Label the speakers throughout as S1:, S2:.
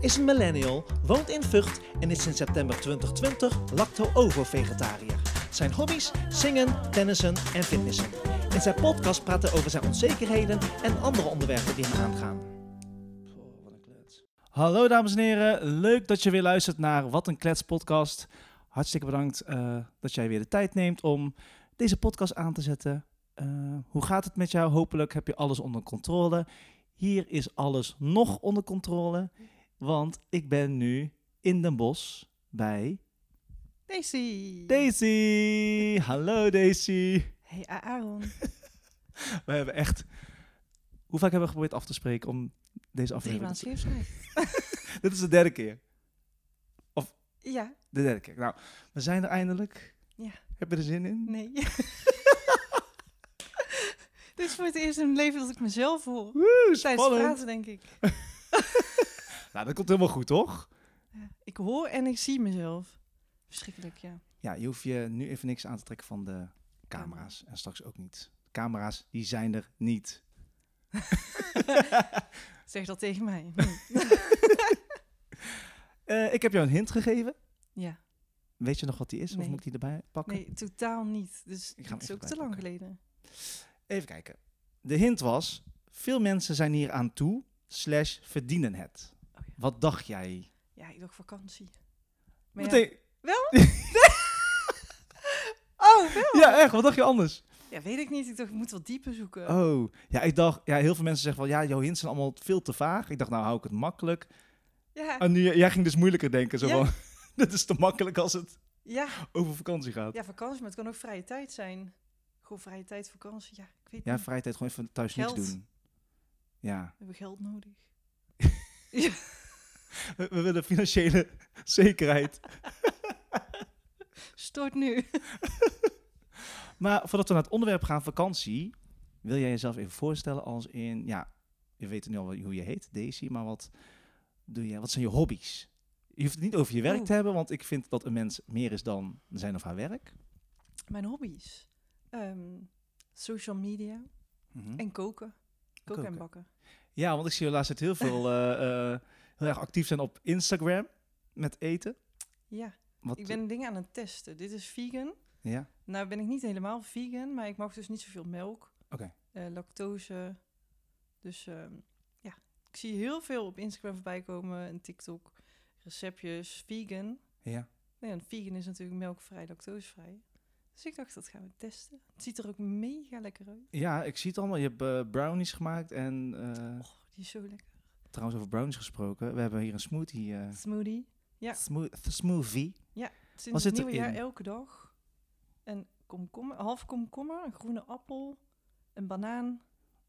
S1: is een millennial, woont in Vught en is in september 2020 lacto-ovo-vegetariër. Zijn hobby's? Zingen, tennissen en fitnessen. In zijn podcast praat hij over zijn onzekerheden en andere onderwerpen die hem aangaan. Hallo dames en heren, leuk dat je weer luistert naar Wat een Klets podcast. Hartstikke bedankt eh, dat jij weer de tijd neemt om deze podcast aan te zetten. Eh, hoe gaat het met jou? Hopelijk heb je alles onder controle. Hier is alles nog onder controle, want ik ben nu in Den Bosch bij
S2: Daisy.
S1: Daisy. Hallo Daisy.
S2: Hey Aaron.
S1: We hebben echt... Hoe vaak hebben we geprobeerd af te spreken om deze
S2: Drie
S1: aflevering...
S2: maanden
S1: te-
S2: scheepsreis.
S1: Dit is de derde keer.
S2: Ja,
S1: De derde keer. Nou, we zijn er eindelijk.
S2: Ja.
S1: Heb je er zin in?
S2: nee. Dit is voor het eerst in mijn leven dat ik mezelf voel.
S1: Woe,
S2: Tijdens het
S1: spannend.
S2: praten denk ik.
S1: Nou, dat komt helemaal goed, toch?
S2: Ja, Ik hoor en ik zie mezelf. Verschrikkelijk, ja.
S1: Ja, je hoeft je nu even niks aan te trekken van de camera's. En straks ook niet. De camera's, die zijn er niet.
S2: Zeg dat tegen mij. Hm.
S1: Eh, ik heb jou een hint gegeven.
S2: Ja,
S1: Weet je nog wat die is? Of
S2: Nee.
S1: moet ik die erbij pakken?
S2: nee, totaal niet. Dus
S1: Ik ga hem
S2: het is
S1: even
S2: ook te lang
S1: bijpakken.
S2: geleden.
S1: Even kijken. De hint was, veel mensen zijn hier aan toe, slash verdienen het.
S2: Oh ja.
S1: Wat dacht jij?
S2: Ja, ik dacht vakantie. Maar ja-
S1: Meteen.
S2: Wel?
S1: Ja.
S2: Oh, wel?
S1: echt, wat dacht je anders?
S2: Ja, weet ik niet. Ik dacht, ik moet wat dieper zoeken.
S1: Oh, ja, ik dacht, ja, heel veel mensen zeggen wel, ja, jouw hints zijn allemaal veel te vaag. Ik dacht, nou hou ik het makkelijk.
S2: Ja,
S1: En nu, jij ging dus moeilijker denken, zo
S2: Ah. Ja.
S1: van, dit is te makkelijk als het
S2: ja.
S1: over vakantie gaat. Ja,
S2: Ja, vakantie, maar het kan ook vrije tijd zijn. Gewoon vrije tijd, vakantie. Ja, ik weet niet.
S1: vrije tijd, gewoon even thuis niks
S2: Geld.
S1: doen. Ja,
S2: We hebben geld nodig.
S1: we, we willen financiële zekerheid.
S2: Stort nu.
S1: Maar voordat we naar het onderwerp gaan, vakantie, wil jij jezelf even voorstellen als in, ja, je weet nu al wel hoe je heet, Daisy, maar wat doe jij, wat zijn je hobby's? Je hoeft het niet over je werk
S2: Oeh.
S1: te hebben, want ik vind dat een mens meer is dan zijn of haar werk.
S2: Mijn hobby's. Ehm, social media
S1: Mhm.
S2: en koken. Koken, en
S1: Koken.
S2: bakken.
S1: Ja, want ik zie je laatst heel veel eh, eh, heel erg actief zijn op Instagram met eten.
S2: Ja,
S1: Wat, eh,
S2: ik ben dingen aan het testen. Dit is vegan.
S1: Ja,
S2: Nou ben ik niet helemaal vegan, maar ik mag dus niet zoveel melk.
S1: Oké.
S2: Eh, lactose. Dus ehm, ja, ik zie heel veel op Instagram voorbij komen en TikTok. Receptjes, vegan.
S1: ja.
S2: Nou ja, en vegan is natuurlijk melkvrij, lactosevrij. Dus ik dacht, dat gaan we testen. Het ziet er ook mega lekker uit.
S1: ja, ik zie het allemaal. Je hebt eh, brownies gemaakt en eh,
S2: Oh, die is zo lekker.
S1: trouwens over brownies gesproken. We hebben hier een smoothie. eh,
S2: Smoothie. Ja.
S1: smo- smoothie.
S2: Sinds
S1: Wat
S2: het
S1: zit
S2: nieuwe jaar
S1: erin?
S2: elke dag. Een komkommer, half komkommer, een groene appel, een banaan,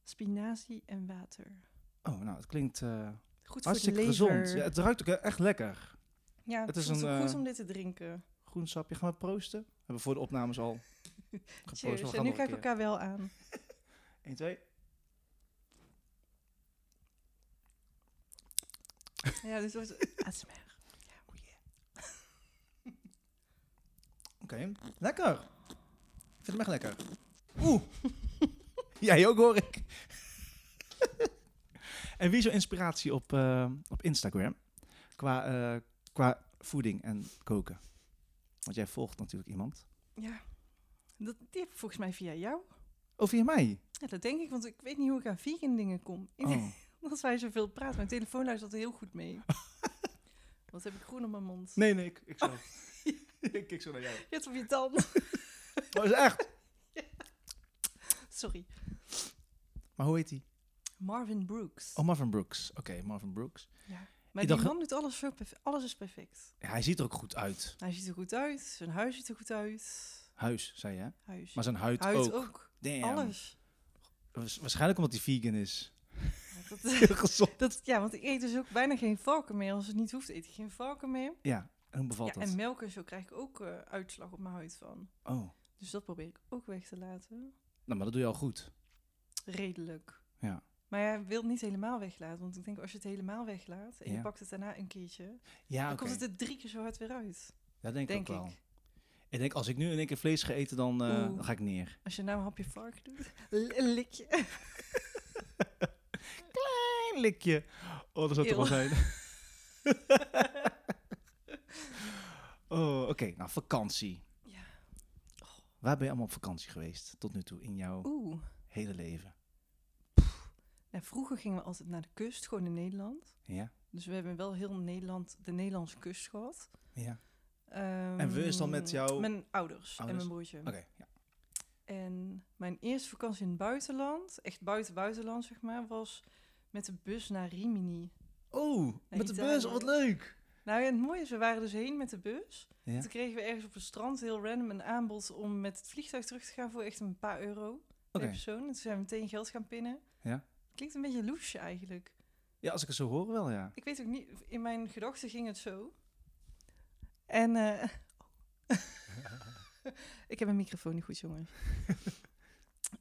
S2: spinazie en water.
S1: Oh, nou, het klinkt eh,
S2: Goed voor
S1: hartstikke
S2: de lever.
S1: gezond. Ja, het ruikt ook echt lekker.
S2: Ja,
S1: het
S2: het
S1: is
S2: is
S1: een,
S2: goed
S1: eh,
S2: om dit te drinken.
S1: Groen sapje. Gaan we proosten? We hebben voor de opnames al geproost. maar we
S2: Cheers.
S1: gaan
S2: En nu
S1: nog een
S2: kijken we elkaar wel aan.
S1: keer. Eén, twee.
S2: Ja, dus dit wordt ASMR.
S1: Oké, lekker. Ik vind hem echt lekker. Oeh. Jij ook hoor ik. en wie is jouw inspiratie op, eh, op Instagram? Qua, eh, qua voeding en koken. Want jij volgt natuurlijk iemand.
S2: Ja, dat, die heb ik volgens mij via jou.
S1: Oh, via mij?
S2: Ja, dat denk ik, want ik weet niet hoe ik aan vegan dingen kom. Ik
S1: Oh.
S2: Omdat wij zoveel praten. Mijn telefoon luistert er heel goed mee. Wat heb ik groen op mijn mond?
S1: Nee, nee, ik, ik
S2: Oh.
S1: zo. ik kijk zo naar jou.
S2: Je hebt op je tand.
S1: Maar is echt.
S2: Sorry.
S1: Maar hoe heet die?
S2: Marvin Brooks.
S1: Oh, Marvin Brooks. Oké, Marvin Brooks.
S2: Ja.
S1: Ik
S2: Maar die
S1: dacht-
S2: man doet alles zo perfect. Alles is perfect.
S1: Ja, hij ziet er ook goed uit.
S2: Hij ziet er goed uit. Zijn huis ziet er goed uit.
S1: Huis, zei je. hè?
S2: Huis.
S1: Maar zijn huid,
S2: huid
S1: ook.
S2: ook.
S1: Damn.
S2: Alles.
S1: Waars- Waarschijnlijk omdat hij vegan is.
S2: Ja, dat-
S1: Heel gezond.
S2: dat, ja, want ik eet dus ook bijna geen valken meer. Als het niet hoeft, eet ik geen valken meer.
S1: Ja, en hoe
S2: Ja,
S1: bevalt dat?
S2: en melk en zo krijg ik ook eh, uitslag op mijn huid van.
S1: Oh,
S2: Dus dat probeer ik ook weg te laten.
S1: nou, maar dat doe je al goed.
S2: Redelijk.
S1: Ja.
S2: Maar ja, ik wil het niet helemaal weglaten. Want ik denk, als je het helemaal weglaat en
S1: Ja.
S2: je pakt het daarna een keertje,
S1: Ja,
S2: dan
S1: oké.
S2: komt het er drie keer zo hard weer uit.
S1: Dat denk,
S2: denk
S1: ik ook wel.
S2: ik.
S1: Ik denk, als ik nu in één keer vlees ga eten, dan, eh,
S2: Oeh.
S1: dan ga ik neer.
S2: Als je nou een hapje varken doet, l- een likje.
S1: Klein likje. Oh, dat zou toch wel zijn. Oh, oké. Nou, vakantie.
S2: Ja.
S1: Waar ben je allemaal op vakantie geweest tot nu toe in jouw
S2: Oeh.
S1: hele leven?
S2: Nou, vroeger gingen we altijd naar de kust, gewoon in Nederland.
S1: Ja?
S2: Dus we hebben wel heel Nederland, de Nederlandse kust gehad.
S1: Ja.
S2: En
S1: we is dan met jouw
S2: Mijn ouders, en
S1: ouders?
S2: mijn broertje.
S1: Oké. ja.
S2: En mijn eerste vakantie in het buitenland, echt buiten buitenland zeg maar, was met de bus naar Rimini.
S1: Oh,
S2: Nee,
S1: met de
S2: Italië.
S1: bus. Wat leuk.
S2: Nou ja, het mooie is, we waren dus heen met de bus.
S1: Ja.
S2: Toen kregen we ergens op het strand heel random een aanbod om met het vliegtuig terug te gaan voor echt een paar euro per
S1: Oké.
S2: persoon. En toen zijn we meteen geld gaan pinnen.
S1: Ja.
S2: Klinkt een beetje loesje eigenlijk.
S1: Ja, als ik het zo hoor, wel ja.
S2: Ik weet ook niet, in mijn gedachten ging het zo. En eh, ik heb mijn microfoon niet goed, jongens.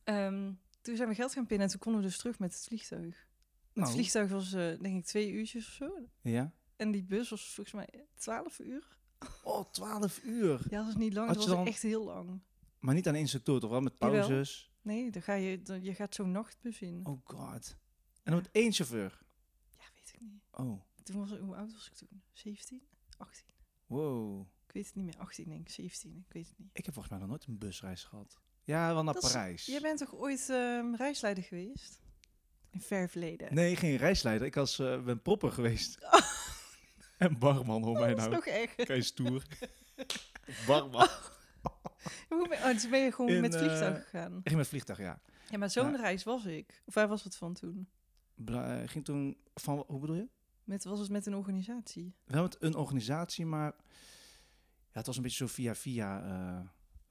S2: Ehm, toen zijn we geld gaan pinnen en toen konden we dus terug met het vliegtuig.
S1: Nou,
S2: Het vliegtuig was eh, denk ik twee uurtjes of zo.
S1: Ja.
S2: En die bus was volgens mij twaalf uur.
S1: Oh, 12 uur.
S2: Ja, dat is niet lang.
S1: Had
S2: dat
S1: je
S2: was
S1: dan-
S2: echt heel lang.
S1: Maar niet aan één stuk door, toch wel? Met
S2: Jawel.
S1: pauzes.
S2: Nee, dan ga je, dan, je gaat zo'n nachtbus in.
S1: Oh god. En dan met één chauffeur.
S2: Ja, weet ik niet.
S1: Oh,
S2: Toen was, hoe oud was ik toen? 17? 18?
S1: wow.
S2: Ik weet het niet meer. 18 denk ik, 17. Ik weet het niet.
S1: Ik heb volgens mij nog nooit een busreis gehad. Ja, wel naar
S2: Dat is-
S1: Parijs.
S2: Jij bent toch ooit ehm, reisleider geweest? In ver verleden.
S1: Nee, geen reisleider. Ik was, eh, ben propper geweest. En barman, hoor mij
S2: Oh. dat is
S1: nou.
S2: nog erg.
S1: Kei stoer. barman.
S2: Oh. Hoe ben, oh, dus ben je gewoon
S1: In,
S2: met het vliegtuig
S1: eh,
S2: gegaan.
S1: Ik ging met vliegtuig, ja.
S2: Ja, maar zo'n
S1: ja.
S2: reis was ik. Of waar was het van toen?
S1: Bla- eh, ging toen van, hoe bedoel je?
S2: Met, was het met een organisatie?
S1: Wel met een organisatie, maar ja, het was een beetje zo via via eh,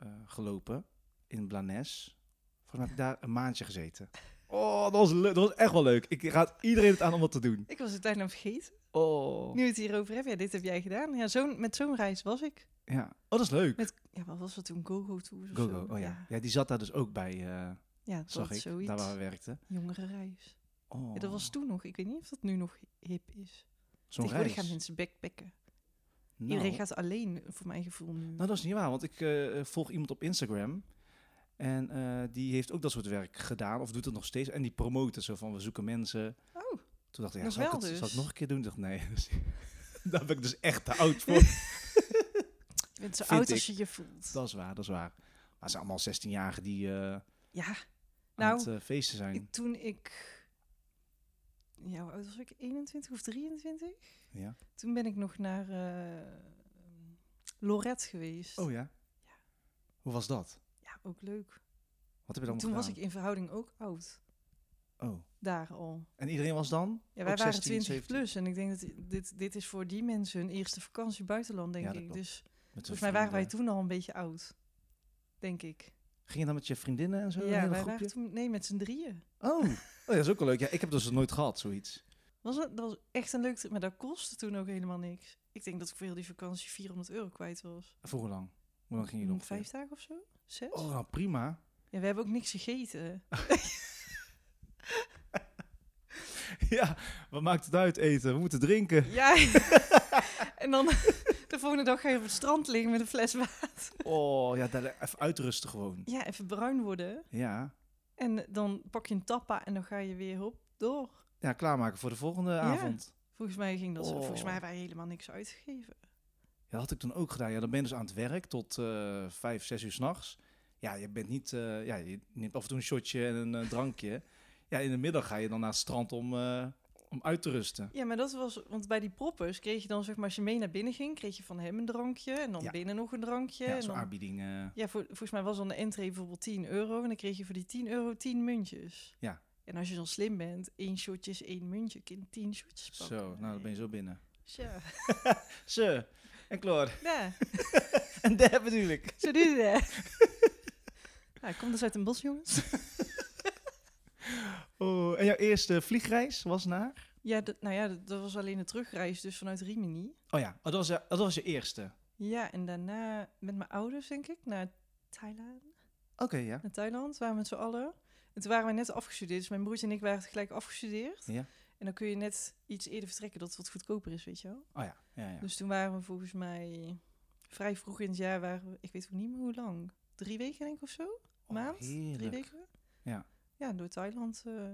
S1: eh, gelopen in Blanes. Volgens mij heb ik daar een maandje gezeten. Oh, dat was, leuk. dat was echt wel leuk. Ik raad iedereen het aan om dat te doen.
S2: Ik was het bijna vergeten.
S1: Oh.
S2: Nu we het hierover hebben, ja, dit heb jij gedaan. Ja, zo'n met zo'n reis was ik.
S1: Ja, oh, dat is leuk.
S2: Met, ja, wat was dat toen? Go-Go Tours of
S1: Gogo,
S2: zo?
S1: oh ja. Ja, die zat daar dus ook bij, eh,
S2: Ja, dat
S1: zag
S2: was
S1: ik,
S2: zoiets.
S1: daar waar we werkten.
S2: Jongere reis.
S1: Oh,
S2: Ja, dat was toen nog. Ik weet niet of dat nu nog hip is.
S1: zo'n
S2: Tegenwoordig
S1: reis.
S2: gaan mensen backpacken.
S1: nou,
S2: Iedereen gaat alleen, voor mijn gevoel nu.
S1: nou, dat is niet waar, want ik eh, volg iemand op Instagram. En eh, die heeft ook dat soort werk gedaan, of doet het nog steeds. En die promoten zo van, we zoeken mensen.
S2: Oh.
S1: Toen dacht ik, ja,
S2: Nog
S1: zal ik,
S2: wel
S1: het, zal ik
S2: dus.
S1: nog een keer doen? Ik dacht, nee. Dus- daar ben ik dus echt te oud voor.
S2: Je bent zo
S1: Vind
S2: oud als
S1: ik.
S2: je je voelt.
S1: dat is waar, dat is waar. Maar het zijn allemaal 16-jarigen die eh,
S2: Ja,
S1: aan
S2: Nou,
S1: het eh, feesten zijn.
S2: ik- toen ik... Ja, hoe oud was ik? 21 of 23?
S1: ja.
S2: Toen ben ik nog naar eh Lorette geweest.
S1: Oh ja?
S2: Ja.
S1: Hoe was dat?
S2: Ja, ook leuk.
S1: Wat heb je
S2: Toen
S1: dan
S2: was ik
S1: gedaan?
S2: in verhouding ook oud.
S1: Oh.
S2: Daar al.
S1: En iedereen was dan?
S2: Ja, wij
S1: Ook
S2: waren
S1: 16,
S2: 20
S1: 17.
S2: plus. En ik denk dat i- dit, dit is voor die mensen hun eerste vakantie buitenland, denk
S1: Ja, dat
S2: ik.
S1: klopt.
S2: Dus
S1: Met hun
S2: volgens mij waren wij
S1: vrienden.
S2: toen al een beetje oud. Denk ik.
S1: Ging je dan met je vriendinnen en zo? een
S2: ja,
S1: hele
S2: wij waren
S1: groepje?
S2: toen... Nee, met z'n drieën.
S1: Oh. oh, ja, dat is ook wel leuk. Ja, ik heb dus nooit gehad, zoiets.
S2: Was het, dat was echt een leuk trip, maar dat kostte toen ook helemaal niks. Ik denk dat ik voor heel die vakantie 400 euro kwijt was.
S1: Voor hoe lang? Hoe lang ging je
S2: Mm,
S1: nog?
S2: Vijf dagen of zo? Zes?
S1: Oh, nou prima.
S2: Ja, we hebben ook niks gegeten.
S1: ja, wat maakt het uit eten? We moeten drinken.
S2: Ja, en dan de volgende dag ga je op het strand liggen met een fles water.
S1: Oh, ja, daar, even uitrusten gewoon.
S2: Ja, even bruin worden.
S1: Ja.
S2: En dan pak je een tappa en dan ga je weer op door.
S1: Ja, klaarmaken voor de volgende avond.
S2: Volgens mij ging dat zo.
S1: Oh.
S2: Volgens mij hebben wij helemaal niks uitgegeven.
S1: Ja, dat had ik toen ook gedaan. Ja, dan ben je dus aan het werk tot eh, vijf, zes uur s'nachts. Ja, je bent niet... eh, ja, je neemt af en toe een shotje en een eh, drankje. Ja, in de middag ga je dan naar het strand om, eh, om uit te rusten.
S2: Ja, maar dat was... Want bij die proppers kreeg je dan, zeg maar, als je mee naar binnen ging... kreeg je van hem een drankje en dan
S1: Ja.
S2: binnen nog een drankje.
S1: Ja,
S2: en
S1: zo'n
S2: dan
S1: aanbieding. eh,
S2: Ja, voor, volgens mij was dan de entree bijvoorbeeld 10 euro. En dan kreeg je voor die 10 euro 10 muntjes.
S1: Ja.
S2: En als je dan slim bent, één shotje is één muntje. Ik kan 10 shotjes pakken.
S1: zo, nou, dan ben je zo binnen.
S2: Zo.
S1: Zo, en Claude.
S2: Ja,
S1: En daar bedoel ik.
S2: zo doe je dat. nou, ik kom dus uit een bos, jongens.
S1: Oh, en jouw eerste vliegreis was naar?
S2: Ja, dat, nou ja, dat, dat was alleen de terugreis dus vanuit Rimini.
S1: Oh ja, oh, dat, was, je- dat was je eerste.
S2: Ja, en daarna met mijn ouders, denk ik, naar Thailand.
S1: Oké, ja.
S2: naar Thailand, waren we met z'n allen. En toen waren we net afgestudeerd. Dus mijn broertje en ik waren tegelijk afgestudeerd.
S1: Ja.
S2: En dan kun je net iets eerder vertrekken, dat het wat goedkoper is, weet je wel.
S1: Oh ja, ja, ja.
S2: Dus toen waren we volgens mij vrij vroeg in het jaar, waren we, ik weet ook niet meer hoe lang, drie weken denk ik of zo?
S1: Oh,
S2: maand? Drie
S1: heerlijk.
S2: weken?
S1: Ja.
S2: Ja, door Thailand. eh.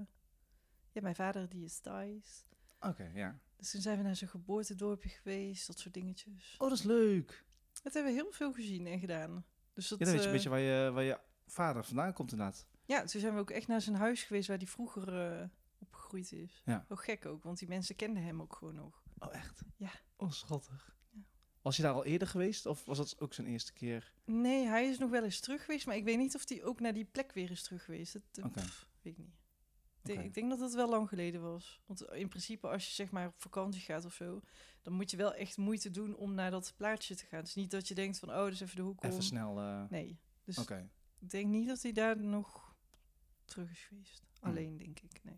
S2: Ja, mijn vader die is Thais.
S1: Oké, ja.
S2: Dus toen zijn we naar zijn geboortedorpje geweest, dat soort dingetjes.
S1: Oh, dat is leuk.
S2: Dat hebben we heel veel gezien en gedaan. Dus dat,
S1: Ja, dan weet je
S2: eh,
S1: een beetje waar je, waar je vader vandaan komt inderdaad.
S2: ja, toen zijn we ook echt naar zijn huis geweest waar hij vroeger eh, opgegroeid is.
S1: Ja.
S2: Ook gek ook, want die mensen kenden hem ook gewoon nog.
S1: Oh, echt?
S2: Ja.
S1: Oh, schattig.
S2: Ja.
S1: Was je daar al eerder geweest of was dat ook zijn eerste keer?
S2: Nee, hij is nog wel eens terug geweest, maar ik weet niet of hij ook naar die plek weer is terug geweest. Dat eh,
S1: Oké.
S2: pff, weet ik niet. Ik denk-
S1: Oké.
S2: Ik denk dat het wel lang geleden was. Want in principe, als je zeg maar op vakantie gaat of zo, dan moet je wel echt moeite doen om naar dat plaatsje te gaan. Dus niet dat je denkt van, oh, dus even de hoek om.
S1: Even snel. eh,
S2: Nee. Dus
S1: Oké.
S2: ik denk niet dat hij daar nog terug is geweest.
S1: Hm.
S2: Alleen, denk ik. Nee.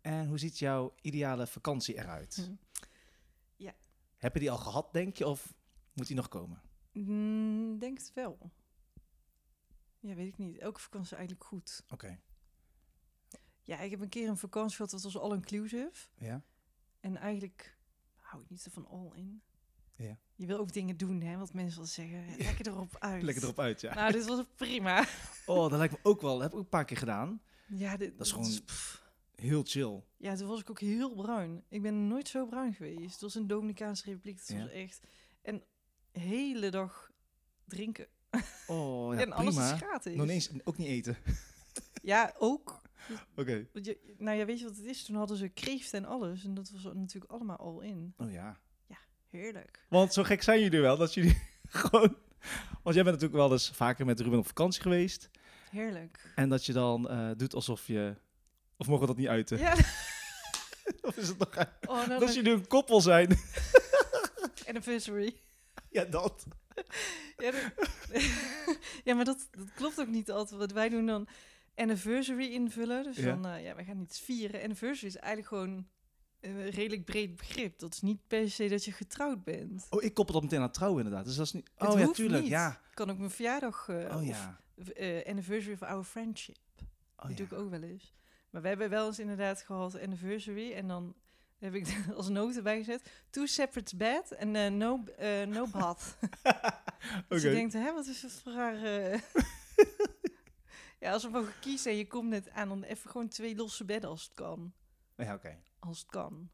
S1: En hoe ziet jouw ideale vakantie eruit?
S2: Hm. Ja.
S1: Heb je die al gehad, denk je, of moet die nog komen?
S2: Mm, denk het wel. Ja, weet ik niet. Elke vakantie is eigenlijk goed.
S1: Oké.
S2: Ja, ik heb een keer een vakantie gehad, dat was all-inclusive.
S1: Ja?
S2: En eigenlijk hou ik niet van all-in.
S1: Ja.
S2: Je wil ook dingen doen, hè, wat mensen wel zeggen. Ja, Lekker erop uit.
S1: Lekker erop uit, ja.
S2: Nou, dit was prima.
S1: Oh, dat lijkt me ook wel. Dat heb ik ook een paar keer gedaan.
S2: Ja, dit,
S1: Dat is
S2: dit
S1: gewoon-
S2: pff.
S1: Heel chill.
S2: Ja, toen was ik ook heel bruin. Ik ben nooit zo bruin geweest. Het was in de Dominicaanse Republiek. dus Het
S1: Ja.
S2: was echt... En hele dag drinken.
S1: Oh, ja,
S2: en alles
S1: prima.
S2: is gratis.
S1: Nog ineens ook niet eten.
S2: Ja, ook.
S1: Oké.
S2: Want je- nou ja, weet je wat het is? Toen hadden ze kreeft en alles. En dat was natuurlijk allemaal al in.
S1: Oh ja.
S2: Heerlijk.
S1: Want zo gek zijn jullie wel, dat jullie gewoon... Want jij bent natuurlijk wel eens vaker met Ruben op vakantie geweest.
S2: Heerlijk.
S1: En dat je dan eh, doet alsof je... Of mogen we dat niet uiten?
S2: Ja.
S1: Of is het nog...
S2: Oh, nou,
S1: Dat
S2: dan-
S1: jullie een koppel zijn.
S2: Anniversary.
S1: ja, dat.
S2: Ja, dat- ja maar dat, dat klopt ook niet altijd. Want wij doen dan anniversary invullen. Dus
S1: Ja.
S2: dan, eh, ja, wij gaan iets vieren. Anniversary is eigenlijk gewoon een redelijk breed begrip. Dat is niet per se dat je getrouwd bent.
S1: Oh, ik koppel dat meteen aan trouwen inderdaad. Dus dat is niet...
S2: Het
S1: Oh ja,
S2: hoeft
S1: tuurlijk.
S2: niet.
S1: Ja.
S2: Kan ook mijn verjaardag eh,
S1: Oh
S2: of,
S1: ja.
S2: eh, anniversary of our friendship.
S1: Oh,
S2: die
S1: ja.
S2: doe ik ook wel eens. Maar we hebben wel eens inderdaad gehad anniversary. En dan heb ik als noot erbij gezet. Two separate bed en eh, no, eh, no bath. Dus je
S1: Oké.
S2: denkt, hè, wat is het voor raar... eh? ja, als we mogen kiezen en je komt net aan, dan even gewoon twee losse bedden als het kan.
S1: Ja, oké.
S2: Als het kan.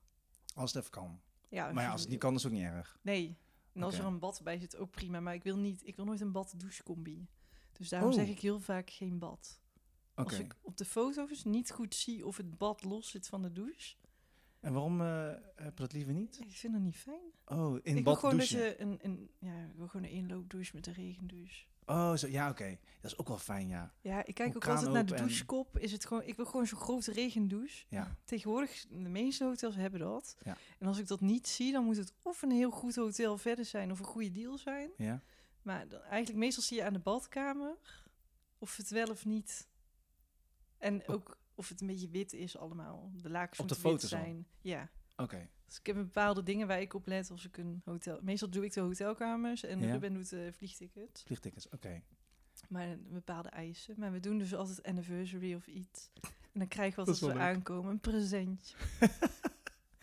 S1: Als het even kan.
S2: Ja,
S1: Maar ja, als het niet kan, is het ook niet erg.
S2: Nee. En als
S1: Oké.
S2: er een bad bij zit, ook prima. Maar ik wil, niet, ik wil nooit een bad-douchecombi. Dus daarom
S1: Oh.
S2: zeg ik heel vaak geen bad.
S1: Oké.
S2: Als ik op de foto's niet goed zie of het bad los zit van de douche...
S1: En waarom eh, heb je dat liever niet?
S2: Ik vind dat niet fijn.
S1: Oh, in
S2: ik wil
S1: bad
S2: gewoon
S1: douchen.
S2: dat je een, een, ja, ik wil gewoon een inloopdouche met een regendouche.
S1: Oh, zo, ja, oké. Dat is ook wel fijn, ja.
S2: Ja, ik kijk
S1: Hoe
S2: ook altijd
S1: kraan
S2: naar de
S1: open en-
S2: douchekop. Is het gewoon, ik wil gewoon zo'n grote regendouche.
S1: Ja.
S2: Tegenwoordig, de meeste hotels hebben dat.
S1: Ja.
S2: En als ik dat niet zie, dan moet het of een heel goed hotel verder zijn of een goede deal zijn.
S1: ja.
S2: Maar dan, eigenlijk meestal zie je aan de badkamer of het wel of niet. En ook of het een beetje wit is allemaal. De lakens
S1: Op de
S2: moeten wit
S1: foto's al?
S2: zijn. Ja.
S1: Oké.
S2: Dus ik heb bepaalde dingen waar ik op let als ik een hotel... Meestal doe ik de hotelkamers en
S1: Ja.
S2: Ruben doet de vliegtickets.
S1: Vliegtickets, oké.
S2: Maar een bepaalde eisen. Maar we doen dus altijd anniversary of iets. En dan krijgen we
S1: Dat
S2: als
S1: is wel
S2: we
S1: leuk.
S2: aankomen een presentje.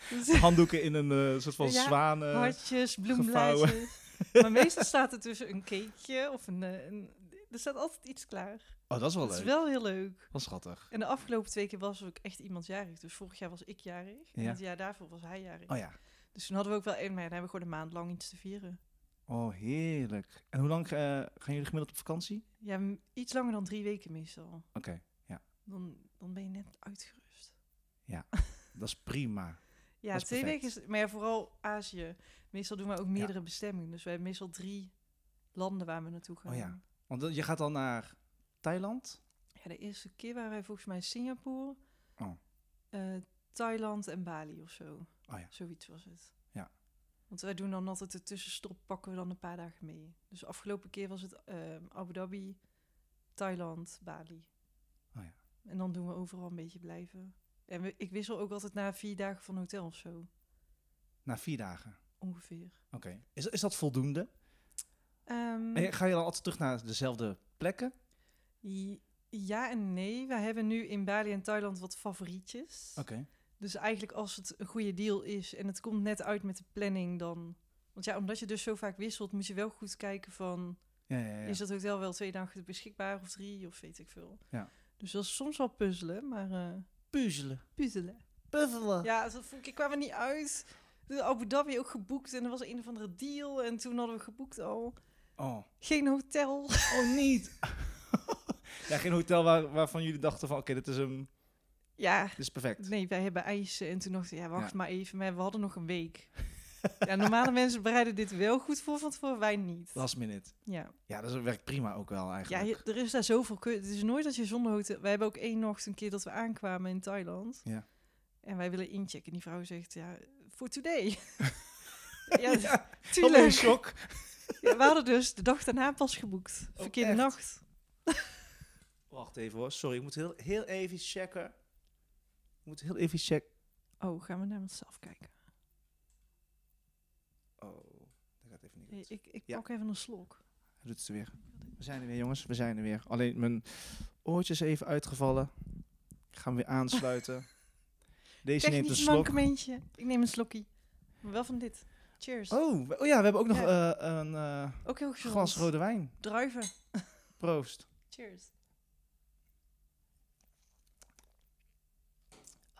S2: Dus
S1: Handdoeken in een eh, soort van
S2: Ja,
S1: zwaan. eh,
S2: hartjes, bloemblaadjes. maar meestal staat er tussen een cakeje of een, eh, een... Er staat altijd iets klaar.
S1: Oh, dat is wel
S2: Dat is
S1: leuk.
S2: wel heel leuk.
S1: Wel schattig.
S2: En de afgelopen twee keer was ook echt iemand jarig. Dus vorig jaar was ik jarig. En
S1: Ja.
S2: het jaar daarvoor was hij jarig.
S1: Oh ja.
S2: Dus toen hadden we ook wel... een- Maar ja, dan hebben we gewoon een maand lang iets te vieren.
S1: Oh, heerlijk. En hoe lang eh, gaan jullie gemiddeld op vakantie?
S2: Ja, m- iets langer dan drie weken meestal.
S1: Oké,
S2: Dan, dan ben je net uitgerust.
S1: dat is prima.
S2: Ja,
S1: Dat is
S2: twee
S1: perfect.
S2: weken is... Maar ja, vooral Azië. Meestal doen we ook meerdere bestemmingen. Dus we hebben meestal drie landen waar we naartoe gaan.
S1: Oh ja. Want dan- je gaat dan naar Thailand?
S2: Ja, de eerste keer waren wij volgens mij Singapore,
S1: Oh.
S2: eh, Thailand en Bali of zo.
S1: Oh ja.
S2: Zoiets was het.
S1: Ja.
S2: Want wij doen dan altijd de tussenstop, pakken we dan een paar dagen mee. Dus de afgelopen keer was het ehm, Abu Dhabi, Thailand, Bali.
S1: Oh ja.
S2: En dan doen we overal een beetje blijven. En we- ik wissel ook altijd na vier dagen van hotel of zo,
S1: Na vier dagen.
S2: ongeveer.
S1: Oké. Is, is dat voldoende?
S2: Ehm,
S1: En ga je dan altijd terug naar dezelfde plekken?
S2: j- ja en nee. Wij hebben nu in Bali en Thailand wat favorietjes.
S1: Oké.
S2: Dus eigenlijk als het een goede deal is en het komt net uit met de planning, dan... Want ja, omdat je dus zo vaak wisselt, moet je wel goed kijken van...
S1: Ja, ja, ja.
S2: Is dat hotel wel twee dagen beschikbaar of drie of weet ik veel.
S1: Ja.
S2: Dus dat is soms wel puzzelen, maar... eh
S1: Puzzelen.
S2: puzzelen.
S1: Puzzelen.
S2: Ja, dat vond ik, ik kwam er niet uit. de Abu Dhabi ook geboekt en er was een of andere deal. En toen hadden we geboekt al
S1: Oh,
S2: geen hotel.
S1: oh niet! ja, geen hotel waar, waarvan jullie dachten van, oké, dit is hem,
S2: Ja,
S1: dit is perfect.
S2: nee, wij hebben eisen. En toen dachten we, ja, wacht
S1: Ja.
S2: maar even. Maar we hadden nog een week. ja, normale mensen bereiden dit wel goed voor van tevoren, wij niet.
S1: Last minute.
S2: Ja,
S1: Ja, dat werkt prima ook wel
S2: ja
S1: eigenlijk.
S2: je- er is daar zoveel keu- Het is nooit dat je zonder hotel... Wij hebben ook één nacht een keer dat we aankwamen in Thailand.
S1: Ja.
S2: En wij willen inchecken. En die vrouw zegt, ja, for today. ja,
S1: Hallo,
S2: tuurlijk.
S1: shock.
S2: Ja, we hadden dus de dag daarna pas geboekt.
S1: Oh,
S2: Verkeerde
S1: echt?
S2: nacht.
S1: Wacht even hoor, sorry, ik moet heel, heel even checken. Ik moet heel even checken.
S2: Oh, gaan we naar onszelf kijken.
S1: Oh, dat gaat even niet
S2: Hey,
S1: goed.
S2: ik ik
S1: Ja.
S2: pak even een slok.
S1: Hij doet het er weer. We zijn er weer jongens, we zijn er weer. Alleen mijn oortje is even uitgevallen. Ik ga hem weer aansluiten. Deze neemt een
S2: Technisch
S1: slok.
S2: mankementje. Ik neem een slokkie. Maar wel van dit. Cheers.
S1: Oh, we- oh ja, we hebben ook nog eh, een eh,
S2: Ook heel gezond.
S1: glas rode wijn.
S2: Druiven.
S1: Proost.
S2: Cheers.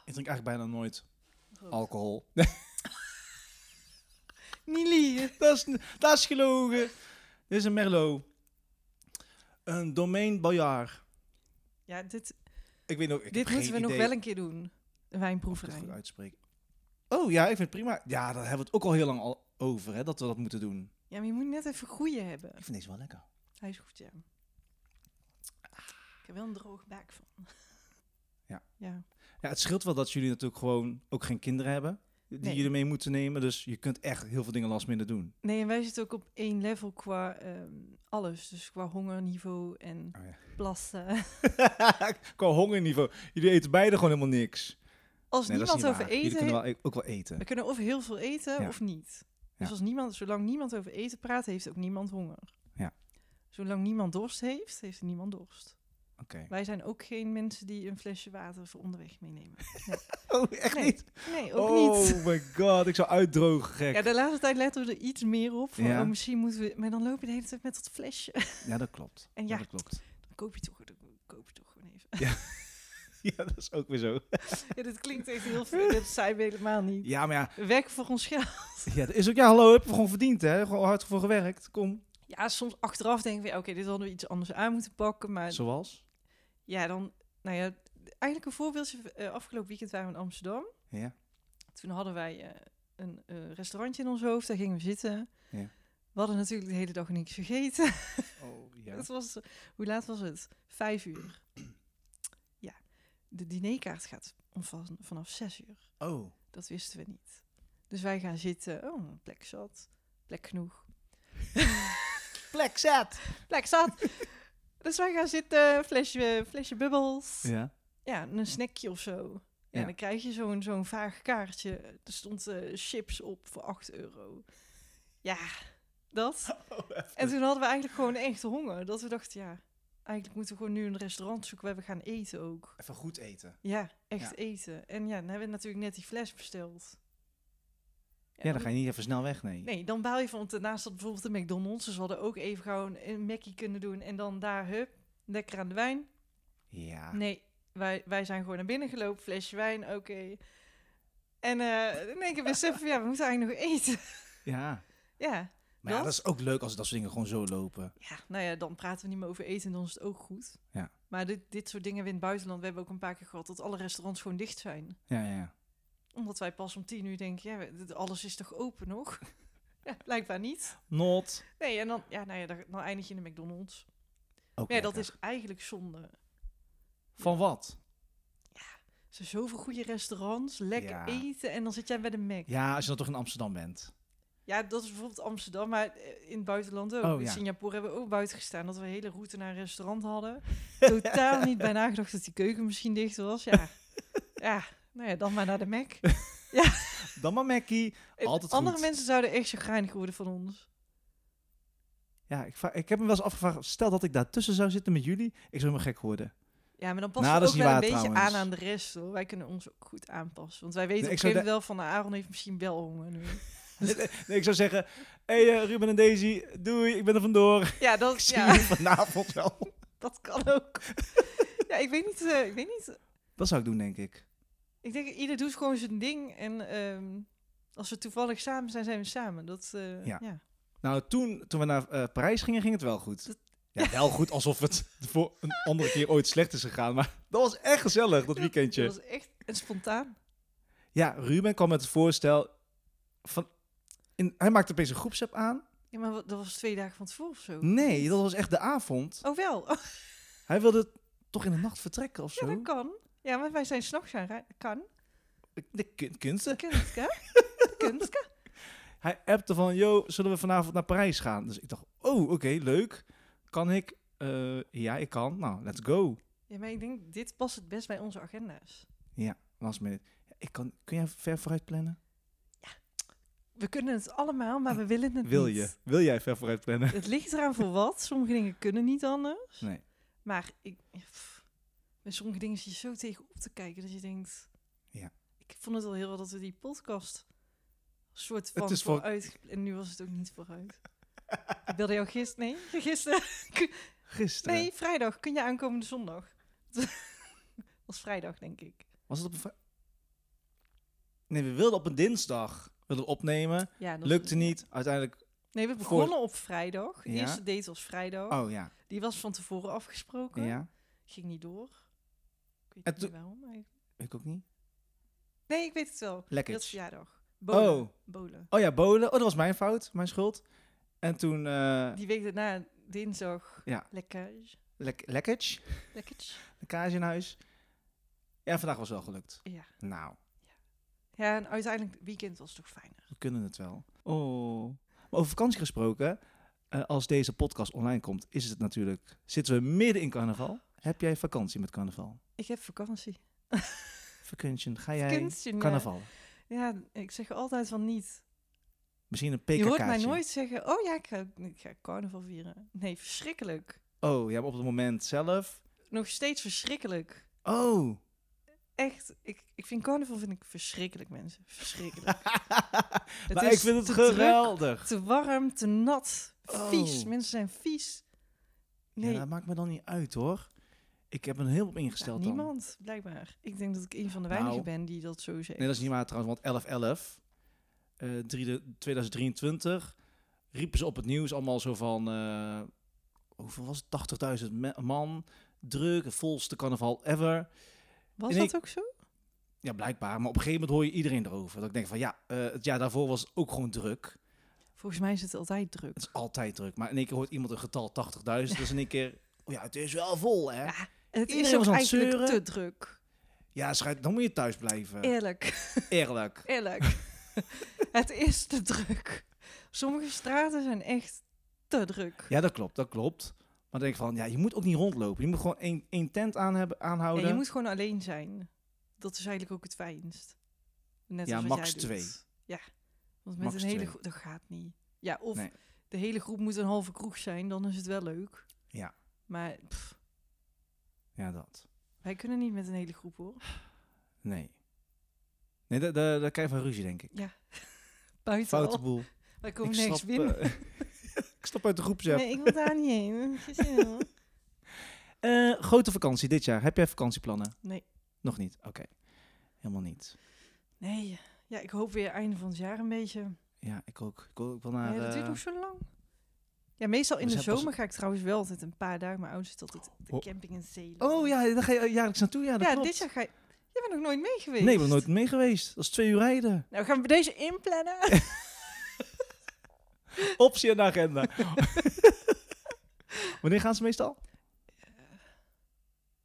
S1: Ik drink eigenlijk bijna nooit
S2: Rood.
S1: alcohol.
S2: Nili.
S1: dat, is, dat is gelogen. Dit is een Merlot. Een Domaine Bayard.
S2: Ja, dit,
S1: Ik weet nog, ik heb
S2: dit moeten
S1: geen
S2: we nog
S1: idee
S2: wel een keer doen. Een
S1: of ik het goed
S2: wijnproeverij.
S1: uitspreek. Oh ja, ik vind het prima. Ja, daar hebben we het ook al heel lang al over, hè, dat we dat moeten doen.
S2: Ja, maar je moet net even goeie hebben.
S1: Ik vind deze wel lekker.
S2: Hij is goed, ja. Ik heb wel een droog baak van.
S1: Ja.
S2: Ja.
S1: Ja, het scheelt wel dat jullie natuurlijk gewoon ook geen kinderen hebben. Die
S2: Nee.
S1: jullie mee moeten nemen. Dus je kunt echt heel veel dingen last minder doen.
S2: Nee, en wij zitten ook op één level qua ehm, alles. Dus qua hongerniveau en
S1: Oh ja.
S2: plassen.
S1: Qua hongerniveau. Jullie eten beide gewoon helemaal niks.
S2: Als
S1: Nee, dat is
S2: niemand
S1: niet waar.
S2: over
S1: Jullie
S2: eten...
S1: kunnen wel, e- ook wel eten.
S2: We kunnen of heel veel eten
S1: Ja.
S2: of niet.
S1: Ja.
S2: Dus als niemand, zolang niemand over eten praat, heeft ook niemand honger.
S1: Ja.
S2: Zolang niemand dorst heeft, heeft niemand dorst.
S1: Oké.
S2: Wij zijn ook geen mensen die een flesje water voor onderweg meenemen.
S1: Oh, echt
S2: Nee,
S1: niet?
S2: Nee, ook
S1: oh
S2: niet.
S1: my god, ik zou uitdrogen, gek.
S2: Ja,
S1: Ja,
S2: de laatste tijd letten we er iets meer op. Van,
S1: Ja.
S2: oh, misschien moeten we... Maar dan loop je de hele tijd met dat flesje.
S1: dat klopt.
S2: En
S1: ja.
S2: ja.
S1: dat klopt.
S2: Dan koop je toch, dan koop je toch gewoon even.
S1: Ja, dat is ook weer zo.
S2: Ja, dit klinkt echt heel veel. Dat zijn we helemaal niet.
S1: Ja, maar ja,
S2: We werken voor ons geld.
S1: ja dat is ook, ja, hallo, heb je gewoon verdiend, hè? Gewoon hard voor gewerkt. Kom.
S2: Ja, soms achteraf denken we, ja, oké, dit hadden we iets anders aan moeten pakken. Maar
S1: Zoals?
S2: Ja, dan, nou ja, eigenlijk een voorbeeldje. eh, afgelopen weekend waren we in Amsterdam.
S1: Ja.
S2: Toen hadden wij eh, een eh, restaurantje in ons hoofd, daar gingen we zitten.
S1: Ja.
S2: We hadden natuurlijk de hele dag niks gegeten.
S1: Oh, ja.
S2: Het was, hoe laat was het? Vijf uur. Ja, de dinerkaart gaat om van, vanaf zes uur.
S1: Oh,
S2: Dat wisten we niet. Dus wij gaan zitten. Oh, een plek zat. Plek genoeg.
S1: plek zat.
S2: Plek zat. dus wij gaan zitten, flesje, flesje bubbels.
S1: Ja.
S2: ja, een snackje of zo. Ja,
S1: Ja.
S2: dan krijg je zo'n zo'n vaag kaartje. Er stond eh, chips op voor 8 euro. Ja, dat.
S1: Oh,
S2: En toen hadden we eigenlijk gewoon echt honger. Dat we dachten, ja, eigenlijk moeten we gewoon nu een restaurant zoeken waar we gaan eten ook.
S1: Even goed eten.
S2: Ja, echt
S1: Ja.
S2: eten. En ja, dan hebben we natuurlijk net die fles besteld.
S1: Ja, dan ga je niet even snel weg, nee.
S2: Nee, dan baal je van, want daarnaast had bijvoorbeeld de McDonald's. Dus we hadden ook even gewoon een Mackie kunnen doen. En dan daar, hup, lekker aan de wijn.
S1: Ja.
S2: Nee, wij, wij zijn gewoon naar binnen gelopen, flesje wijn, oké. En eh in één keer beseffen we, ja, we moeten eigenlijk nog eten.
S1: Ja.
S2: ja.
S1: Maar ja,
S2: Dat?
S1: dat is ook leuk als dat soort dingen gewoon zo lopen.
S2: ja, nou ja, dan praten we niet meer over eten en dan is het ook goed.
S1: Ja.
S2: Maar dit, dit soort dingen we in het buitenland, we hebben ook een paar keer gehad dat alle restaurants gewoon dicht zijn.
S1: Ja, ja, ja.
S2: Omdat wij pas om tien uur denken, ja, we- dit- alles is toch open nog? ja, blijkbaar niet.
S1: Not.
S2: Nee, en dan, ja, nou ja, dan, dan eindig je in de McDonald's.
S1: Ook
S2: Maar ja, dat
S1: lekker.
S2: is eigenlijk zonde.
S1: Van wat?
S2: Er zijn zoveel goede restaurants, lekker
S1: Ja.
S2: eten en dan zit jij bij de Mac.
S1: Ja, als je dan toch in Amsterdam bent.
S2: Ja, dat is bijvoorbeeld Amsterdam, maar eh, in het buitenland ook.
S1: Oh,
S2: in
S1: ja.
S2: Singapore hebben we ook buiten gestaan dat we een hele route naar een restaurant hadden. Totaal niet bij nagedacht dat die keuken misschien dicht was. Ja, ja nou ja, dan maar naar de Mac.
S1: Dan maar Mackie.
S2: En
S1: Altijd
S2: Andere
S1: goed.
S2: mensen zouden echt chagrijnig worden van ons.
S1: Ja, ik, va- ik heb me wel eens afgevraagd, stel dat ik daartussen zou zitten met jullie, ik zou me gek worden.
S2: Ja, maar dan passen
S1: Nou,
S2: we
S1: dat
S2: ook
S1: is
S2: wel
S1: niet
S2: een
S1: waar,
S2: beetje
S1: trouwens.
S2: aan aan de rest. Hoor. Wij kunnen ons ook goed aanpassen. Want wij weten
S1: Nee,
S2: op
S1: ik
S2: een
S1: zou
S2: gegeven moment wel van... nou, Aaron heeft misschien wel honger nu.
S1: Nee, ik zou zeggen, hé hey, eh, Ruben en Daisy, doei, ik ben er vandoor.
S2: Ja,
S1: Ik
S2: dat,
S1: zie jullie
S2: ja,
S1: vanavond wel.
S2: dat kan ook. ja, ik weet niet... eh, ik weet niet
S1: Dat zou ik doen, denk ik.
S2: Ik denk, ieder doet gewoon zijn ding. En ehm, Als we toevallig samen zijn, zijn we samen. Dat, eh,
S1: Ja.
S2: ja.
S1: Nou, toen, toen we naar eh, Parijs gingen, ging het wel goed. Ja, wel goed, alsof het voor een andere keer ooit slecht is gegaan. Maar dat was echt gezellig, dat weekendje.
S2: Dat was echt en spontaan.
S1: Ja, Ruben kwam met het voorstel van... in- hij maakte opeens een groepsapp aan.
S2: Ja, maar wat- dat was twee dagen van tevoren of zo.
S1: Nee, dat was echt de avond.
S2: Oh wel, oh,
S1: Hij wilde toch in de nacht vertrekken of
S2: ja,
S1: zo.
S2: dat kan. Ja, maar wij zijn s'nachts gaan rijden. Kan.
S1: De kun- kunsten.
S2: Kunstke. Kunstke.
S1: Hij appte van, yo, zullen we vanavond naar Parijs gaan? Dus ik dacht, oh, oké, leuk. Kan ik? Eh, ja, ik kan. Nou, let's go.
S2: Ja, maar ik denk, dit past het best bij onze agenda's.
S1: Last minute. Ik kan, kun jij ver vooruit plannen?
S2: We kunnen het allemaal, maar we willen het
S1: Wil
S2: niet.
S1: je? Wil jij ver vooruit plannen?
S2: Het ligt eraan voor wat. Sommige dingen kunnen niet anders.
S1: Nee.
S2: Maar ik, ja, pff, met sommige dingen zit je zo tegenop te kijken dat je denkt...
S1: Ja.
S2: Ik vond het al heel wat dat we die podcast soort van
S1: Het is voor-
S2: vooruit... En nu was het ook niet vooruit. ik belde jou gisteren... Nee, gisteren.
S1: Gisteren.
S2: Nee, vrijdag. Kun je aankomende zondag? Dat was vrijdag, denk ik.
S1: Was het op een... vri- Nee, we wilden op een dinsdag. We wilden opnemen.
S2: Ja, dat-
S1: Lukte niet. Uiteindelijk...
S2: Nee, we
S1: Voor-
S2: begonnen op vrijdag. De
S1: Ja.
S2: eerste date was vrijdag.
S1: Oh ja.
S2: Die was van tevoren afgesproken.
S1: Ja.
S2: Ging niet door. Ik weet
S1: En
S2: niet
S1: toen-
S2: waarom eigenlijk.
S1: Ik ook niet.
S2: Nee, ik weet het wel. Dat is
S1: Lekker.
S2: verjaardag. Bolen.
S1: Oh.
S2: Bolen.
S1: Oh ja, bolen. Oh, dat was mijn fout. Mijn schuld. En toen... eh
S2: Die week daarna, dinsdag.
S1: Ja.
S2: Lekkage.
S1: lek- lekkage.
S2: Lekkage.
S1: Lekkage in huis. Ja, vandaag was wel gelukt.
S2: Ja.
S1: Nou,
S2: Ja, en uiteindelijk het weekend was toch fijner.
S1: we kunnen het wel. Oh. Maar over vakantie gesproken, eh, als deze podcast online komt, is het natuurlijk... Zitten we midden in carnaval. Heb jij vakantie met carnaval?
S2: Ik heb vakantie.
S1: Vakantie, ga jij
S2: Kunstje, nee.
S1: carnaval?
S2: Ja, ik zeg altijd van niet.
S1: Misschien een
S2: Je
S1: pkk
S2: hoort mij nooit zeggen, oh ja, ik ga, ik ga carnaval vieren. Nee, verschrikkelijk.
S1: Oh, ja, maar op het moment zelf.
S2: Nog steeds verschrikkelijk.
S1: Oh.
S2: Echt, ik, ik vind carnaval vind ik verschrikkelijk, mensen. Verschrikkelijk.
S1: maar
S2: is
S1: ik vind het
S2: te druk.
S1: geweldig.
S2: te warm, te nat, vies.
S1: Oh.
S2: Mensen zijn vies. Nee,
S1: Ja, dat maakt me dan niet uit hoor. Ik heb een heel op
S2: ja,
S1: ingesteld dan.
S2: niemand, blijkbaar. Ik denk dat ik een van de weinigen
S1: Nou.
S2: ben die dat zo zegt.
S1: Nee, dat is niet waar trouwens, want 11-11, eh, drie de- 2023, riepen ze op het nieuws allemaal zo van, eh, hoeveel was het, 80.000 me- man, druk, het volste carnaval ever.
S2: Was
S1: en
S2: dat
S1: ik-
S2: ook zo?
S1: Ja, blijkbaar, maar op een gegeven moment hoor je iedereen erover. Dat ik denk van, ja, eh, het jaar daarvoor was het ook gewoon druk.
S2: Volgens mij is het altijd druk.
S1: Het is altijd druk, maar in één keer hoort iemand een getal 80.000, dus in één keer, oh ja, het is wel vol hè.
S2: Ja. Het is
S1: Iedereen was
S2: ook
S1: aan het
S2: eigenlijk
S1: zeuren.
S2: te druk.
S1: Ja, schijt, dan moet je thuis blijven.
S2: Eerlijk,
S1: Eerlijk.
S2: eerlijk. het is te druk. Sommige straten zijn echt te druk.
S1: Ja, dat klopt, dat klopt. Maar dan denk ik van, ja, je moet ook niet rondlopen. Je moet gewoon één, één tent aan hebben, aanhouden.
S2: Ja, je moet gewoon alleen zijn. Dat is eigenlijk ook het fijnst. Net
S1: Ja,
S2: als wat
S1: max
S2: jij
S1: twee.
S2: Doet. Ja, want met
S1: Max
S2: een hele
S1: twee.
S2: groep, dat gaat niet. Ja, of
S1: Nee.
S2: de hele groep moet een halve kroeg zijn, dan is het wel leuk.
S1: Ja.
S2: Maar pff,
S1: Ja, dat.
S2: wij kunnen niet met een hele groep hoor.
S1: Nee. Nee, daar da, da krijg je van ruzie, denk ik.
S2: Buiten
S1: Foute
S2: al.
S1: boel.
S2: Wij komen
S1: ik,
S2: nergens
S1: stap,
S2: binnen.
S1: eh, ik stap uit de groep, zeg.
S2: nee, ik wil daar niet heen. Gezellig.
S1: Eh, grote vakantie dit jaar. Heb jij vakantieplannen?
S2: Nee.
S1: Nog niet? Oké. Helemaal niet.
S2: nee, ja, ik hoop weer einde van het jaar een beetje.
S1: Ja, ik ook. Ik wil, ik wil naar...
S2: ja, dat duurt
S1: eh,
S2: nog zo lang. Ja, meestal in
S1: we
S2: de
S1: zijn pas-
S2: zomer ga ik trouwens wel altijd een paar dagen. Mijn ouders zitten altijd op de
S1: Oh.
S2: camping in Zeeland.
S1: Oh ja, daar ga je jaarlijks naartoe. Ja, dat
S2: Ja,
S1: klopt.
S2: dit jaar ga je... Jij bent nog nooit mee geweest.
S1: Nee, ik ben nooit mee geweest. Dat is twee uur rijden.
S2: Nou, gaan we bij deze inplannen?
S1: Optie aan de agenda. Wanneer gaan ze meestal? Oké.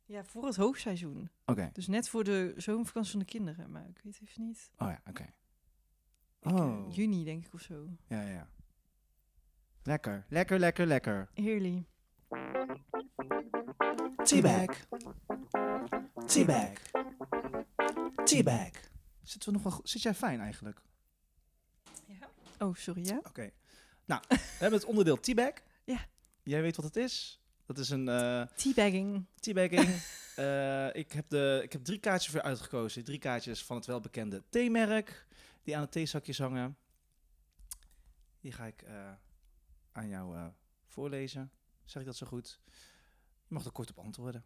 S2: ja, voor het hoogseizoen. Dus net voor de zomervakantie van de kinderen. Maar ik weet even niet.
S1: Oh ja, oké.
S2: Ik, eh,
S1: Oh.
S2: juni, denk ik, of zo.
S1: Ja, ja, ja. Lekker, lekker, lekker, lekker.
S2: Heerly.
S1: Teabag. Teabag. Teabag. Zitten we nog wel go- Zit jij fijn eigenlijk?
S2: Oh, sorry, ja?
S1: Oké. Nou, we hebben het onderdeel teabag.
S2: Ja.
S1: Jij weet wat het is. Dat is een eh
S2: Teabagging.
S1: teabagging. Eh, ik, heb de, ik heb drie kaartjes voor je uitgekozen. Drie kaartjes van het welbekende theemerk. Die aan het theezakjes hangen. Die ga ik eh, aan jou eh, voorlezen. Zeg ik dat zo goed? Je mag er kort op antwoorden.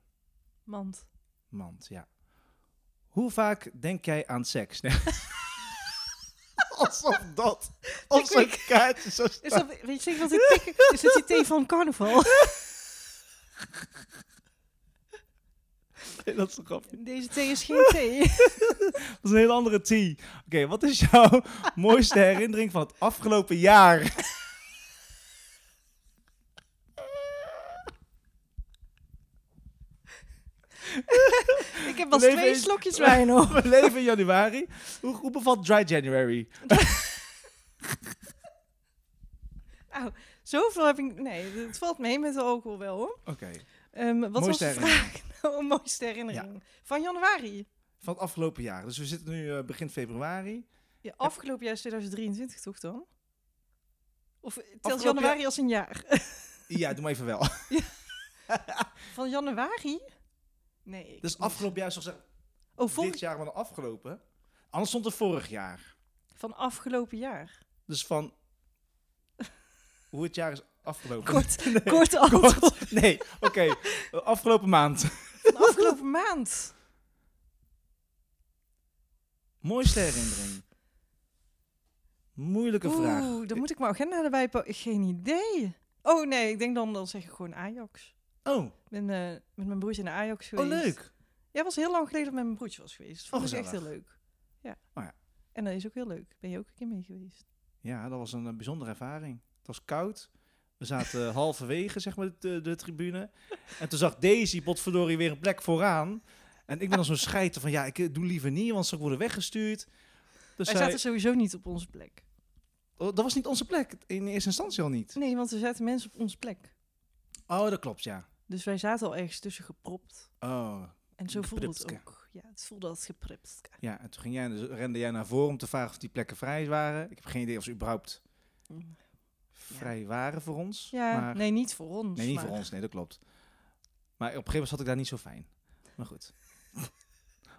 S2: Mand.
S1: Mand, ja. Hoe vaak denk jij aan seks? Nee. Alsof dat. Of
S2: Ik
S1: zo'n
S2: weet-
S1: kaartje zo
S2: Is
S1: staat.
S2: dat, weet je zeker dat dit tik- is dit die thee van carnaval?
S1: Nee, Dat is een grapje.
S2: Deze thee is geen thee.
S1: Dat is een hele andere T. Oké, wat is jouw mooiste herinnering van het afgelopen jaar?
S2: Ik heb wel
S1: Leven
S2: twee
S1: is-
S2: slokjes wijn op.
S1: We leven in januari. Hoe, hoe bevalt Dry January?
S2: Zoveel heb ik... Nee, het valt mee met de alcohol wel, hoor.
S1: Oké.
S2: Ehm, wat
S1: Mooiste
S2: was de vraag? Nou, een mooiste herinnering. Van januari.
S1: Van het afgelopen jaar. Dus we zitten nu eh, begin februari.
S2: Ja, afgelopen jaar is 2023 toch dan? Of eh, telt
S1: Afgelopen
S2: januari als een jaar?
S1: Ja, doe maar even wel.
S2: Van januari? Nee. ik
S1: Dus
S2: niet.
S1: afgelopen jaar is toch zeggen,
S2: Oh, vorig-
S1: dit jaar maar dan afgelopen. Anders stond er vorig jaar.
S2: van afgelopen jaar.
S1: Dus van hoe het jaar is afgelopen.
S2: Kort, kort antwoord.
S1: Nee, oké. Eh, Afgelopen maand.
S2: Van afgelopen maand.
S1: Mooiste herinnering. Moeilijke vraag.
S2: Oeh, dan moet ik mijn agenda erbij pakken. Geen idee. Oh nee, ik denk dan, dan zeg ik gewoon Ajax.
S1: Oh, oh
S2: Ik ben eh, met mijn broertje naar Ajax geweest.
S1: leuk.
S2: Ja, was heel lang geleden dat ik met mijn broertje was geweest. Vond
S1: Oh,
S2: ik echt heel
S1: gezellig.
S2: leuk. Ja.
S1: Oh, ja.
S2: En dat is ook heel leuk. Ben je ook een keer mee geweest?
S1: Ja, dat was een eh, bijzondere ervaring. Het was koud. We zaten eh, halverwege, zeg maar, de, de tribune. En toen zag Daisy potverdorie weer een plek vooraan. En ik ben dan zo'n scheiter van, ja, ik eh, doe liever niet, want ze worden weggestuurd. Dus
S2: Wij
S1: zij-
S2: zaten sowieso niet op onze plek.
S1: Oh, dat was niet onze plek, in eerste instantie al niet.
S2: Nee, want er zaten mensen op onze plek.
S1: Oh, dat klopt, ja.
S2: Dus wij zaten al ergens tussen gepropt.
S1: Oh,
S2: En zo voelde het
S1: Gepriptke.
S2: ook. Ja, het voelde als gepript.
S1: ja. En toen ging jij, dus rende jij naar voren om te vragen of die plekken vrij waren. Ik heb geen idee of ze überhaupt vrij waren voor ons.
S2: Ja,
S1: Mm. maar...
S2: nee, niet voor ons.
S1: Nee, niet
S2: maar-
S1: voor ons. Nee, dat klopt. Maar op een gegeven moment zat ik daar niet zo fijn. Maar goed.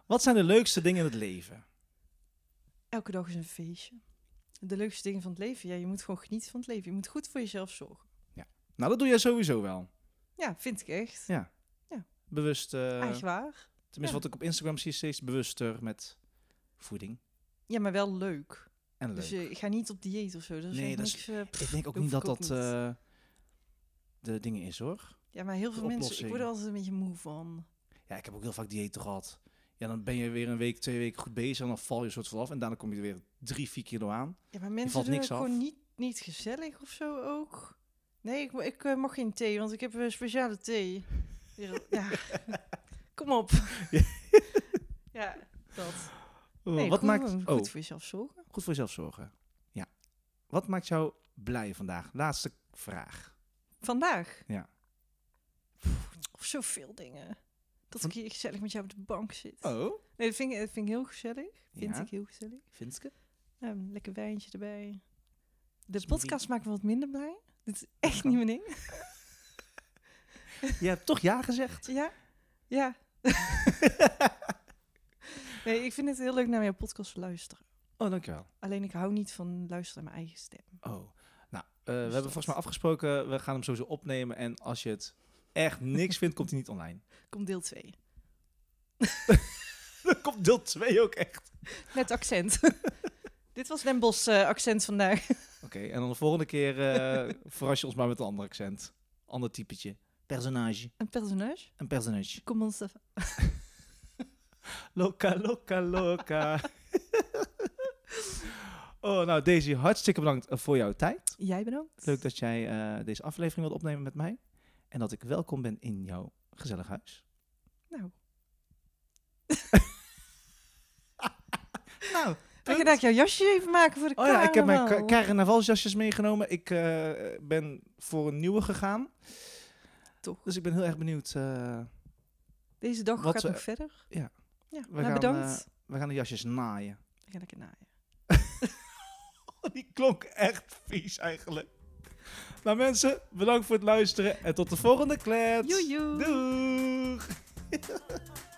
S1: Wat zijn de leukste dingen in het leven?
S2: Elke dag is een feestje. De leukste dingen van het leven. Ja, je moet gewoon genieten van het leven. Je moet goed voor jezelf zorgen.
S1: Nou, dat doe jij sowieso wel.
S2: Ja, vind ik echt.
S1: Ja. Bewust, eh,
S2: Eigenlijk waar.
S1: tenminste
S2: Ah, ja.
S1: wat ik op Instagram zie, is steeds bewuster met voeding
S2: Ja, maar wel leuk.
S1: en leuk.
S2: Dus eh, ik ga niet op dieet of zo. Dat is
S1: Nee,
S2: echt
S1: dat is-
S2: niks, eh, pff,
S1: ik denk ook
S2: hoef
S1: niet dat
S2: ik ook
S1: dat
S2: niet.
S1: eh, de dingen is hoor.
S2: ja, maar heel veel mensen, ik
S1: oplossing.
S2: word er altijd een beetje moe van.
S1: Ja, ik heb ook heel vaak diëten gehad. Ja, dan ben je weer een week, twee weken goed bezig en dan val je een soort van af. En daarna kom je er weer drie, vier kilo aan.
S2: Ja, maar mensen
S1: valt
S2: doen
S1: niks
S2: het gewoon
S1: af.
S2: niet, niet gezellig of zo ook. Nee, ik, mo- ik eh, mag geen thee, want ik heb een speciale thee. Weer- Ja, kom op. ja, dat.
S1: Oh,
S2: Nee,
S1: wat
S2: goed,
S1: maakt...
S2: gewoon
S1: oh.
S2: goed voor jezelf zorgen?
S1: Goed voor jezelf zorgen. Ja. Wat maakt jou blij vandaag? Laatste vraag.
S2: Vandaag?
S1: Ja.
S2: Of zoveel dingen. Dat
S1: Van-
S2: ik hier gezellig met jou op de bank zit.
S1: Oh.
S2: Nee, dat vind, ik, dat vind ik heel gezellig. Vind
S1: Ja.
S2: ik heel gezellig.
S1: Vinske?
S2: Ja, een lekker wijntje erbij. De
S1: Smoothie.
S2: podcast maakt me wat minder blij. Dit is echt niet mijn ding.
S1: Je hebt toch ja gezegd?
S2: Ja, ja. nee, ik vind het heel leuk naar jouw podcast te luisteren.
S1: Oh, dankjewel.
S2: Alleen ik hou niet van luisteren naar mijn eigen stem.
S1: Oh. Nou, eh, we hebben volgens mij afgesproken, we gaan hem sowieso opnemen. En als je het echt niks vindt, komt hij niet online.
S2: Komt deel 2.
S1: Dan komt deel 2 ook echt.
S2: Met accent. Dit was Den Bos eh, accent vandaag.
S1: Oké, en dan de volgende keer eh, verras je ons maar met een ander accent. Ander typetje. Personage.
S2: Een personage?
S1: Een personage.
S2: Kom ons even.
S1: Loka, loka, loka. oh, nou Daisy, hartstikke bedankt voor jouw tijd.
S2: Jij bedankt.
S1: Leuk dat jij eh, deze aflevering wilt opnemen met mij. En dat ik welkom ben in jouw gezellig huis.
S2: Nou,
S1: Nou,
S2: dan ga ik jouw jasje even maken voor de
S1: oh ja, ik heb mijn
S2: carnaval.
S1: ka- carnavalsjasjes meegenomen. Ik eh, ben voor een nieuwe gegaan.
S2: Toch.
S1: Dus ik ben heel erg benieuwd. eh,
S2: Deze dag
S1: Wat
S2: gaat
S1: we-
S2: nog verder.
S1: ja.
S2: Ja,
S1: We
S2: nou,
S1: gaan, eh,
S2: bedankt.
S1: we gaan de jasjes naaien. Oh,
S2: Ik ga lekker naaien.
S1: Die klonk echt vies eigenlijk. Nou mensen, bedankt voor het luisteren. En tot de volgende klets.
S2: Joejoe.
S1: Doeg.